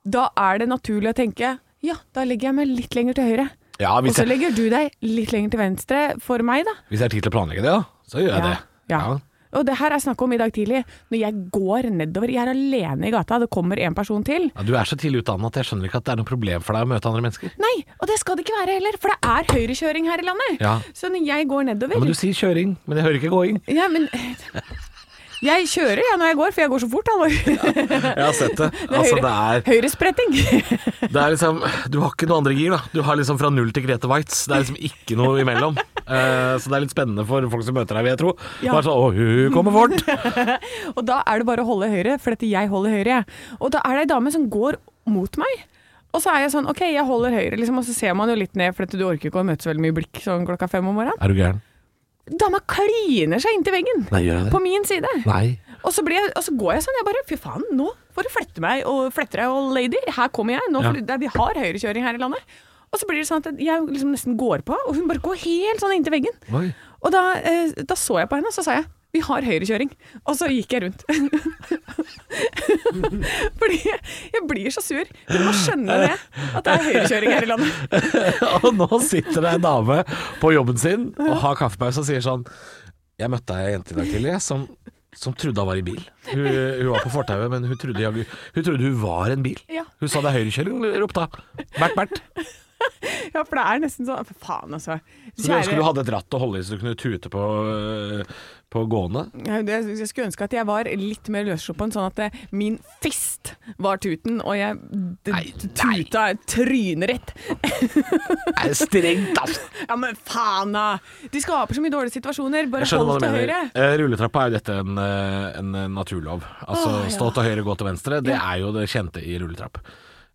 [SPEAKER 3] da er det naturlig å tenke ja, da legger jeg meg litt lenger til høyre.
[SPEAKER 2] Ja,
[SPEAKER 3] Og
[SPEAKER 2] hvis
[SPEAKER 3] så
[SPEAKER 2] jeg,
[SPEAKER 3] legger du deg litt lenger til venstre for meg, da.
[SPEAKER 2] hvis jeg har tid til å planlegge det, ja, så gjør jeg det.
[SPEAKER 3] Ja. Og det her er snakk om i dag tidlig. Når jeg går nedover, jeg er alene i gata, det kommer en person til.
[SPEAKER 2] Ja, Du er så tidlig utdanna at jeg skjønner ikke at det er noe problem for deg å møte andre mennesker.
[SPEAKER 3] Nei, og det skal det ikke være heller, for det er høyrekjøring her i landet.
[SPEAKER 2] Ja.
[SPEAKER 3] Så når jeg går nedover
[SPEAKER 2] Ja, men du sier kjøring, men jeg hører ikke gåing.
[SPEAKER 3] Ja, men Jeg kjører jeg når jeg går, for jeg går så fort. <laughs> Halvor.
[SPEAKER 2] <laughs> Jeg har sett
[SPEAKER 3] <laughs>
[SPEAKER 2] det. Altså, det er
[SPEAKER 3] Høyrespretting.
[SPEAKER 2] Det er liksom, Du har ikke noe andre gir, da. Du har liksom fra null til Grete Waitz. Det er liksom ikke noe
[SPEAKER 3] <laughs>
[SPEAKER 2] imellom. Eh, så det er litt spennende for folk som møter deg, vil jeg tro.
[SPEAKER 3] Ja.
[SPEAKER 2] Bare sånn, å, hun kommer fort!
[SPEAKER 3] <laughs> Og da er det bare å holde høyre, for dette jeg holder høyre. jeg. Og da er det ei dame som går mot meg. Og så er jeg sånn, ok, jeg holder høyre, liksom, og så ser man jo litt ned, for dette, du orker ikke å møte så veldig mye blikk sånn klokka fem om morgenen.
[SPEAKER 2] Er du gæren?
[SPEAKER 3] Dama kliner seg inntil veggen.
[SPEAKER 2] Nei, gjør jeg
[SPEAKER 3] På
[SPEAKER 2] det?
[SPEAKER 3] min side.
[SPEAKER 2] Nei.
[SPEAKER 3] Og så, blir jeg, og så går jeg sånn, jeg bare fy faen, nå får du flette meg og flette deg, og lady, her kommer jeg. Nå,
[SPEAKER 2] Ja.
[SPEAKER 3] får du- det, vi har høyrekjøring her i landet. Og så blir det sånn at jeg liksom nesten går på, og hun bare går helt sånn inntil veggen.
[SPEAKER 2] Oi. <laughs>
[SPEAKER 3] Og da, eh, da så jeg på henne, og så sa jeg vi har høyrekjøring. Og så gikk jeg rundt. <laughs> Fordi jeg, jeg blir så sur. Hun må skjønne det, at det er høyrekjøring her i landet.
[SPEAKER 2] Og nå sitter det ei dame på jobben sin og har kaffepause og sier sånn Jeg møtte ei jente i dag tidlig jeg, som, som trodde hun var i bil. Hun, hun var på fortauet, men hun trodde, jaggu- hun trodde hun var en bil.
[SPEAKER 3] Ja.
[SPEAKER 2] Hun sa det er høyrekjøring, ropte hun. Bert, Bert.
[SPEAKER 3] Ja, for det er nesten sånn For faen, altså.
[SPEAKER 2] Så du ønsker du hadde et ratt å holde i så du kunne tute på, øh, på gående?
[SPEAKER 3] Ja, det- Jeg skulle ønske at jeg var litt mer løssluppen, sånn at eh, min fist var tuten, og jeg d-
[SPEAKER 2] Nei, nei.
[SPEAKER 3] tuta trynerett.
[SPEAKER 2] Nei, strengt, ass!
[SPEAKER 3] Ja, men faen, da! De skaper så mye dårlige situasjoner. Bare
[SPEAKER 2] Jeg skjønner hva
[SPEAKER 3] hold
[SPEAKER 2] du
[SPEAKER 3] til
[SPEAKER 2] mener.
[SPEAKER 3] høyre.
[SPEAKER 2] Eh, Rulletrappa er jo dette en, eh, en eh, naturlov. Altså
[SPEAKER 3] Åh, ja.
[SPEAKER 2] stå til høyre, gå til venstre. Det er jo det kjente i rulletrapp.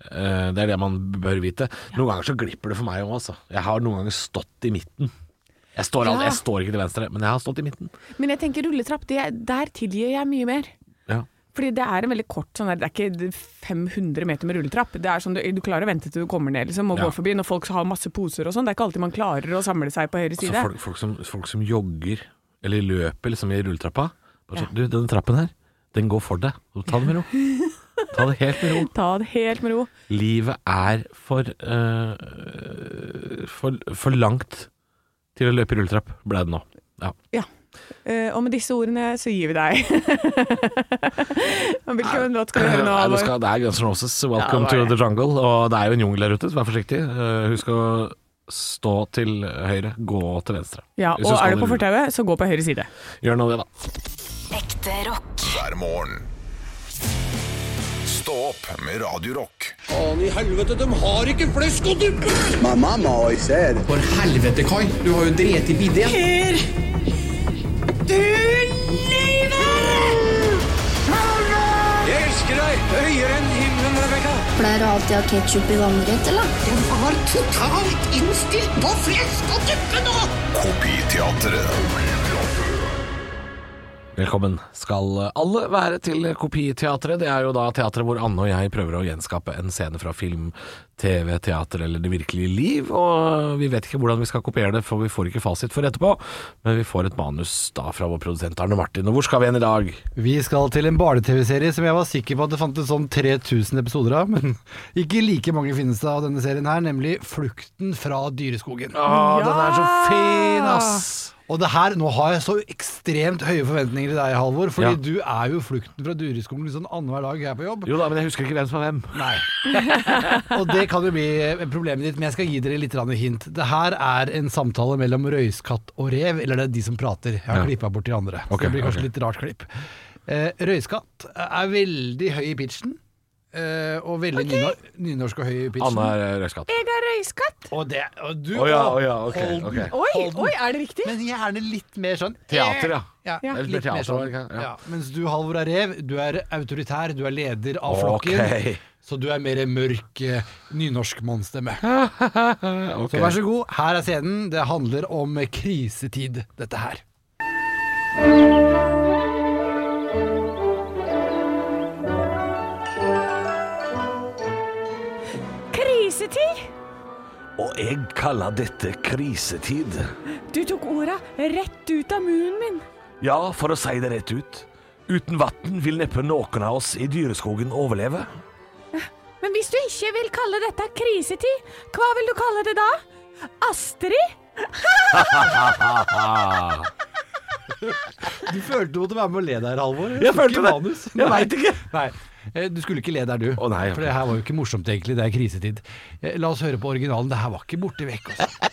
[SPEAKER 2] Eh, Det er det man bør vite. Noen ganger så glipper det for meg òg, altså. Jeg har noen ganger stått i midten. Jeg står, aldri,
[SPEAKER 3] Ja.
[SPEAKER 2] jeg står ikke til venstre, men jeg har stått i midten.
[SPEAKER 3] Men jeg tenker rulletrapp, det, der tilgir jeg mye mer.
[SPEAKER 2] Ja.
[SPEAKER 3] Fordi det er en veldig kort sånn der, det er ikke 500 meter med rulletrapp. Det er sånn, du, du klarer å vente til du kommer ned liksom, og
[SPEAKER 2] Ja.
[SPEAKER 3] går forbi når folk har masse poser og sånn. Det er ikke alltid man klarer å samle seg på høyre
[SPEAKER 2] Så
[SPEAKER 3] side.
[SPEAKER 2] Altså, folk, folk, som, folk som jogger eller løper liksom i rulletrappa bare
[SPEAKER 3] Ja.
[SPEAKER 2] sånn, Du, denne trappen her, den går for deg. Så Ta det med ro. Ta det helt
[SPEAKER 3] <laughs>
[SPEAKER 2] med ro.
[SPEAKER 3] Ta det helt med ro.
[SPEAKER 2] Livet er for, eh, for For langt til å løpe i rulletrapp, ble det nå. Ja.
[SPEAKER 3] Eh, og med disse ordene så gir vi deg. <laughs> Og Hvilken låt skal vi høre nå?
[SPEAKER 2] Nei, det,
[SPEAKER 3] Halvor?
[SPEAKER 2] skal, det er Guns N' Roses,
[SPEAKER 3] Ja,
[SPEAKER 2] 'Welcome
[SPEAKER 3] det var
[SPEAKER 2] to the Jungle'. Og det er jo en jungel der ute, så vær forsiktig. Eh, husk å stå til høyre, gå til venstre.
[SPEAKER 3] Ja,
[SPEAKER 2] Hvis
[SPEAKER 3] og
[SPEAKER 2] skal
[SPEAKER 3] er du på
[SPEAKER 2] rulle.
[SPEAKER 3] fortauet, så gå på høyre side.
[SPEAKER 2] Gjør nå det, da.
[SPEAKER 5] Ekte rock.
[SPEAKER 1] hver morgen. Stå opp med Radio Rock.
[SPEAKER 6] Faen i helvete, de har ikke flesk og duppe!
[SPEAKER 7] My mama always said,
[SPEAKER 6] For helvete, Kai. Du har jo drept i bidé. Jeg elsker deg høyere enn himmelen, Rebekka.
[SPEAKER 8] Pleier du alltid å ha ketsjup i vannrett, eller?
[SPEAKER 9] var totalt innstilt på flesk og duppe nå!
[SPEAKER 1] Kopiteatret.
[SPEAKER 2] Velkommen skal alle være til Kopiteatret. Det er jo da teatret hvor Anne og jeg prøver å gjenskape en scene fra film, TV, teater eller det virkelige liv. Og vi vet ikke hvordan vi skal kopiere det, for vi får ikke fasit for etterpå. Men vi får et manus da fra vår produsent Arne Martin. Og hvor skal vi hen i dag?
[SPEAKER 10] Vi skal til en barne-TV-serie som jeg var sikker på at det fantes sånn 3000 episoder av, men ikke like mange finnes det av denne serien her, nemlig 'Flukten fra dyreskogen'.
[SPEAKER 2] Å, Ah, den er
[SPEAKER 10] Ah!
[SPEAKER 2] så fin, ass!
[SPEAKER 10] Og det her, nå har jeg så ekstremt høye forventninger til deg, Halvor, fordi
[SPEAKER 2] Ja.
[SPEAKER 10] du er jo 'Flukten fra dyreskogen' sånn annenhver dag jeg er på jobb.
[SPEAKER 2] Jo da, men jeg husker ikke hvem som er hvem.
[SPEAKER 10] Nei. <laughs> Og det kan jo bli eh, problemet ditt, men jeg skal gi dere litt grann hint. Det her er en samtale mellom røyskatt og rev, eller det er de som prater. Jeg har
[SPEAKER 2] Ja.
[SPEAKER 10] klippet klippa bort de andre, så
[SPEAKER 2] Ok,
[SPEAKER 10] det blir
[SPEAKER 2] ok.
[SPEAKER 10] kanskje litt rart klipp. Eh, røyskatt er veldig høy i pitchen, eh, og veldig nyno- nynorsk og høy i pitchen.
[SPEAKER 2] Anne er røyskatt.
[SPEAKER 3] Jeg er røyskatt.
[SPEAKER 10] Og det og du
[SPEAKER 2] Å ja,
[SPEAKER 10] og-
[SPEAKER 2] å ja, ok,
[SPEAKER 10] hold den,
[SPEAKER 2] ok.
[SPEAKER 3] Oi,
[SPEAKER 10] hold den.
[SPEAKER 3] oi, er det riktig?
[SPEAKER 10] Men gjerne litt mer sånn
[SPEAKER 2] Teater, ja.
[SPEAKER 10] ja,
[SPEAKER 3] Ja.
[SPEAKER 10] litt
[SPEAKER 2] Litt
[SPEAKER 10] mer
[SPEAKER 2] teater,
[SPEAKER 10] sånn.
[SPEAKER 2] ikke? Ja.
[SPEAKER 10] Ja. Mens du, Halvor, er rev. Du er autoritær, du er leder av
[SPEAKER 2] Ok.
[SPEAKER 10] flokken. Så du er mer mørk eh, nynorsk mannsstemme.
[SPEAKER 2] Ok.
[SPEAKER 10] Så vær så god, her er scenen. Det handler om krisetid, dette her.
[SPEAKER 3] Krisetid!
[SPEAKER 2] Og jeg kaller dette krisetid.
[SPEAKER 3] Du tok orda rett ut av munnen min.
[SPEAKER 2] Ja, for å si det rett ut. Uten vann vil neppe noen av oss i dyreskogen overleve.
[SPEAKER 3] Men hvis du ikke vil kalle dette krisetid, hva vil du kalle det da? Astrid?
[SPEAKER 10] Du følte du måtte være med og le der, Halvor.
[SPEAKER 2] Jeg følte
[SPEAKER 10] Ikke
[SPEAKER 2] det.
[SPEAKER 10] manus.
[SPEAKER 2] Jeg
[SPEAKER 10] Nei.
[SPEAKER 2] vet ikke.
[SPEAKER 10] Nei. Eh, Du skulle ikke le der, du.
[SPEAKER 2] Å, nei, ok.
[SPEAKER 10] For det her var jo ikke morsomt, egentlig. Det er krisetid. Eh, La oss høre på originalen. Det her var ikke borte vekk. Altså.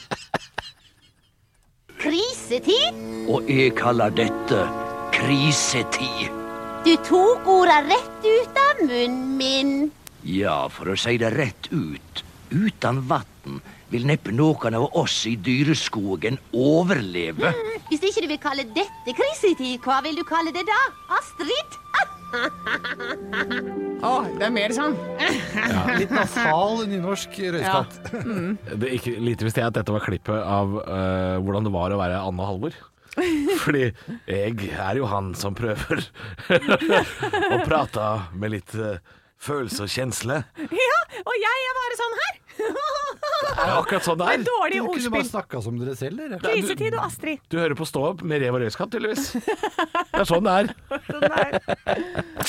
[SPEAKER 9] Krisetid?
[SPEAKER 6] Og jeg kaller dette
[SPEAKER 9] krisetid.
[SPEAKER 11] Du tok orda rett ut av munnen min.
[SPEAKER 9] Ja, for å si det rett ut. Uten vann vil neppe noen av oss i dyreskogen overleve.
[SPEAKER 11] Hvis ikke du vil kalle dette krisetid, hva vil du kalle det da? Astrid?
[SPEAKER 3] Å, det er mer sånn.
[SPEAKER 10] Litt nasal nynorsk røyskatt.
[SPEAKER 2] Det er ikke, lite visste jeg at dette var klippet av eh, hvordan det var å være Anne Halvor. <laughs> Fordi jeg er jo han som prøver <laughs> å prate med litt eh, følelse og kjensle.
[SPEAKER 3] Ja, og jeg er bare sånn her. <laughs>
[SPEAKER 2] Det er akkurat sånn det
[SPEAKER 3] Med
[SPEAKER 2] er.
[SPEAKER 3] dårlige
[SPEAKER 10] Kunne ikke du bare
[SPEAKER 3] ordspill.
[SPEAKER 10] snakka som dere selv, eller?
[SPEAKER 2] du-
[SPEAKER 3] Krisetid og Astrid.
[SPEAKER 2] Du hører på Stå opp med Rev og Røyskatt, tydeligvis. Det er sånn det er.
[SPEAKER 3] Sånn der.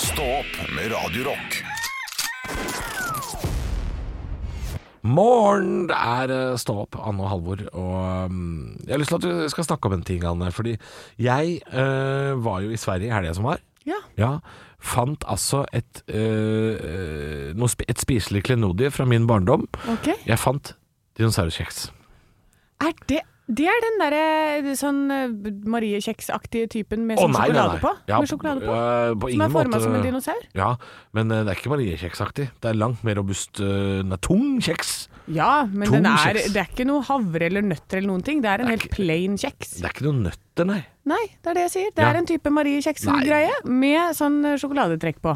[SPEAKER 1] Stå opp med Radio Rock.
[SPEAKER 2] Morgen! Det er eh, Stå opp, Anne og Halvor. Og mm, jeg har lyst til at du skal snakke om en ting, Anne. Fordi jeg eh, var jo i Sverige i helga som var.
[SPEAKER 3] <laughs> Ja.
[SPEAKER 2] Ja, fant altså et, øh, øh, noe, sp- et spiselig klenodie fra min barndom.
[SPEAKER 3] Ok.
[SPEAKER 2] Jeg fant dinosauruskjeks.
[SPEAKER 3] Er det det er den derre sånn eh, Marie Kjeks-aktige typen med
[SPEAKER 2] Å,
[SPEAKER 3] sånn
[SPEAKER 2] nei, nei,
[SPEAKER 3] sjokolade
[SPEAKER 2] nei.
[SPEAKER 3] på?
[SPEAKER 2] Ja,
[SPEAKER 3] med sjokolade på?
[SPEAKER 2] øh, på
[SPEAKER 3] som
[SPEAKER 2] ingen
[SPEAKER 3] er forma
[SPEAKER 2] måte-
[SPEAKER 3] som en dinosaur?
[SPEAKER 2] Ja, men øh, det er ikke mariekjeksaktig. Det er langt mer robust. øh, den er tung kjeks.
[SPEAKER 3] Ja, men
[SPEAKER 2] Tung
[SPEAKER 3] den er,
[SPEAKER 2] kjeks.
[SPEAKER 3] det er ikke noe havre eller nøtter eller noen ting. Det er en helt plain kjeks.
[SPEAKER 2] Det er ikke noen nøtter, nei.
[SPEAKER 3] Nei, det er det jeg sier. Det
[SPEAKER 2] Ja.
[SPEAKER 3] er en type Marie Kjeks-greie med sånn eh, sjokoladetrekk på.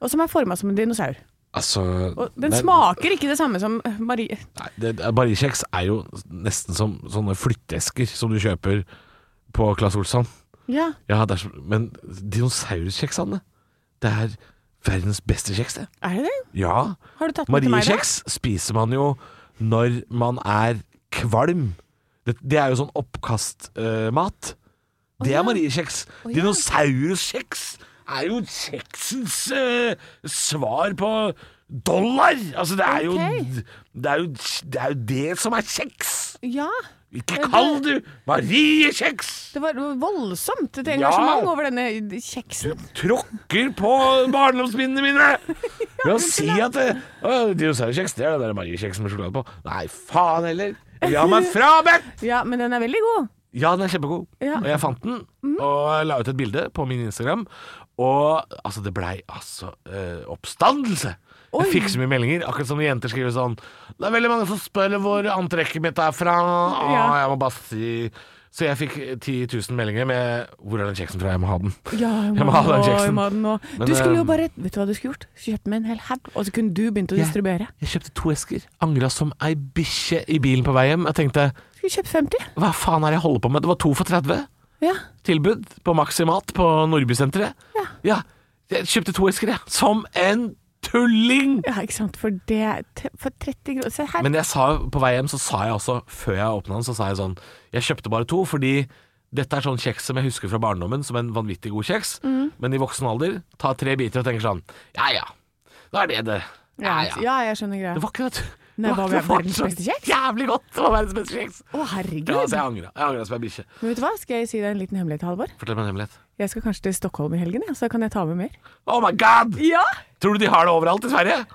[SPEAKER 3] Og som er forma som en dinosaur.
[SPEAKER 2] Altså
[SPEAKER 3] Og den
[SPEAKER 2] nei,
[SPEAKER 3] smaker ikke det samme som eh, Marie
[SPEAKER 2] Nei, det, det- mariekjeks er jo nesten som sånne flytteesker som du kjøper på Claes Olsson.
[SPEAKER 3] Ja,
[SPEAKER 2] Ja, det er, så- men dinosauruskjeks, Anne, det er verdens beste kjeks, det.
[SPEAKER 3] er det det?
[SPEAKER 2] Ja.
[SPEAKER 3] Har du tatt med til meg det?
[SPEAKER 2] Mariekjeks spiser man jo når man er kvalm. Det, det er jo sånn oppkastmat. det
[SPEAKER 3] ja.
[SPEAKER 2] er mariekjeks. Dinosauruskjeks er jo kjeksens eh, svar på dollar! Altså, det er,
[SPEAKER 3] Ok.
[SPEAKER 2] jo, det, er jo, det er jo det som er kjeks!
[SPEAKER 3] Ja.
[SPEAKER 2] Ikke
[SPEAKER 3] Ja,
[SPEAKER 2] kall
[SPEAKER 3] det-
[SPEAKER 2] du mariekjeks!
[SPEAKER 3] Det var voldsomt et
[SPEAKER 2] Ja.
[SPEAKER 3] engasjement over denne kjeksen.
[SPEAKER 2] Tråkker på barndomsminnene mine! Ved å si at eh, «Å, Dinosauruskjeks, det er den der mariekjeksen med sjokolade på. Nei, faen heller! Jeg vil
[SPEAKER 3] <laughs>
[SPEAKER 2] ha meg frabedt!
[SPEAKER 3] Ja, men den er veldig god.
[SPEAKER 2] Ja, den er kjempegod.
[SPEAKER 3] Ja. Mm.
[SPEAKER 2] Og jeg fant den, og la ut et bilde på min Instagram. Og altså, det blei altså eh, oppstandelse!
[SPEAKER 3] Oi.
[SPEAKER 2] Jeg fikk så mye meldinger, akkurat som når jenter skriver sånn Det er veldig mange som spør hvor antrekket mitt er fra, og
[SPEAKER 3] Ja.
[SPEAKER 2] jeg må bare si Så jeg fikk 10 000 meldinger med 'Hvor er den kjeksen fra? Jeg må ha den'.
[SPEAKER 3] Ja,
[SPEAKER 2] Jeg må ha den kjeksen.
[SPEAKER 3] nå.
[SPEAKER 2] Men,
[SPEAKER 3] Du skulle jo
[SPEAKER 2] eh,
[SPEAKER 3] bare Vet du hva du skulle gjort? Kjøpt med en hel haug, og så kunne du begynt å
[SPEAKER 2] Ja.
[SPEAKER 3] distribuere.
[SPEAKER 2] Jeg kjøpte to esker. Angra som ei bikkje i bilen på vei hjem. Jeg tenkte
[SPEAKER 3] Skulle kjøpt 50.
[SPEAKER 2] hva faen er det jeg holder på med? Det var to for 30.
[SPEAKER 3] Ja.
[SPEAKER 2] tilbud på Maximat på Nordbysenteret. Ja. Jeg kjøpte to esker, jeg. Som en tulling!
[SPEAKER 3] ja, ikke sant. For det te- For 30 kroner Se her.
[SPEAKER 2] Men jeg sa på vei hjem, så sa jeg også, før jeg åpna den, så sa jeg sånn Jeg kjøpte bare to fordi dette er sånn kjeks som jeg husker fra barndommen som en vanvittig god kjeks, men i voksen alder tar tre biter og tenker sånn Ja ja, da er det det. Ja
[SPEAKER 3] ja,
[SPEAKER 2] ja.
[SPEAKER 3] jeg
[SPEAKER 2] Det
[SPEAKER 3] skjønner greia.
[SPEAKER 2] var ikke det.
[SPEAKER 3] Nei,
[SPEAKER 2] det var-
[SPEAKER 3] var
[SPEAKER 2] det var
[SPEAKER 3] verdens
[SPEAKER 2] så
[SPEAKER 3] beste kjeks?
[SPEAKER 2] Jævlig godt! Det var verdens beste kjeks.
[SPEAKER 3] Å, herregud.
[SPEAKER 2] Ja, altså, så jeg angra. Jeg angra som ei bikkje.
[SPEAKER 3] Men vet du hva, skal jeg si deg en liten hemmelighet, Halvor?
[SPEAKER 2] Fortell meg en hemmelighet.
[SPEAKER 3] Jeg skal kanskje til Stockholm i helgen, ja, så da kan jeg ta med mer.
[SPEAKER 2] Oh my god!
[SPEAKER 3] Ja!
[SPEAKER 2] Tror du de har det overalt i Sverige?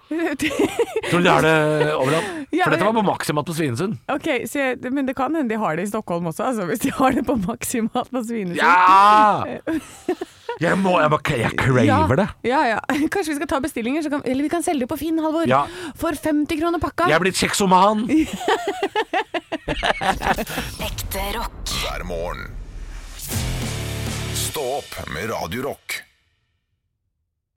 [SPEAKER 2] Tror du de har det overalt?
[SPEAKER 3] Ja,
[SPEAKER 2] For dette
[SPEAKER 3] men-
[SPEAKER 2] var på Maximat på Svinesund.
[SPEAKER 3] <laughs> ok, så jeg, Men det kan hende de har det i Stockholm også, altså, hvis de har det på Maximat på Svinesund.
[SPEAKER 2] Ja! Jeg må, jeg, må, jeg craver det.
[SPEAKER 3] Ja, ja. <laughs> Kanskje vi skal ta bestillinger, så kan, eller vi kan selge det på Finn, Halvor.
[SPEAKER 2] Ja.
[SPEAKER 3] For 50 kroner pakka.
[SPEAKER 2] Jeg er blitt kjeksoman.
[SPEAKER 5] Ekte rock.
[SPEAKER 1] hver morgen. Stå opp med Radio Rock.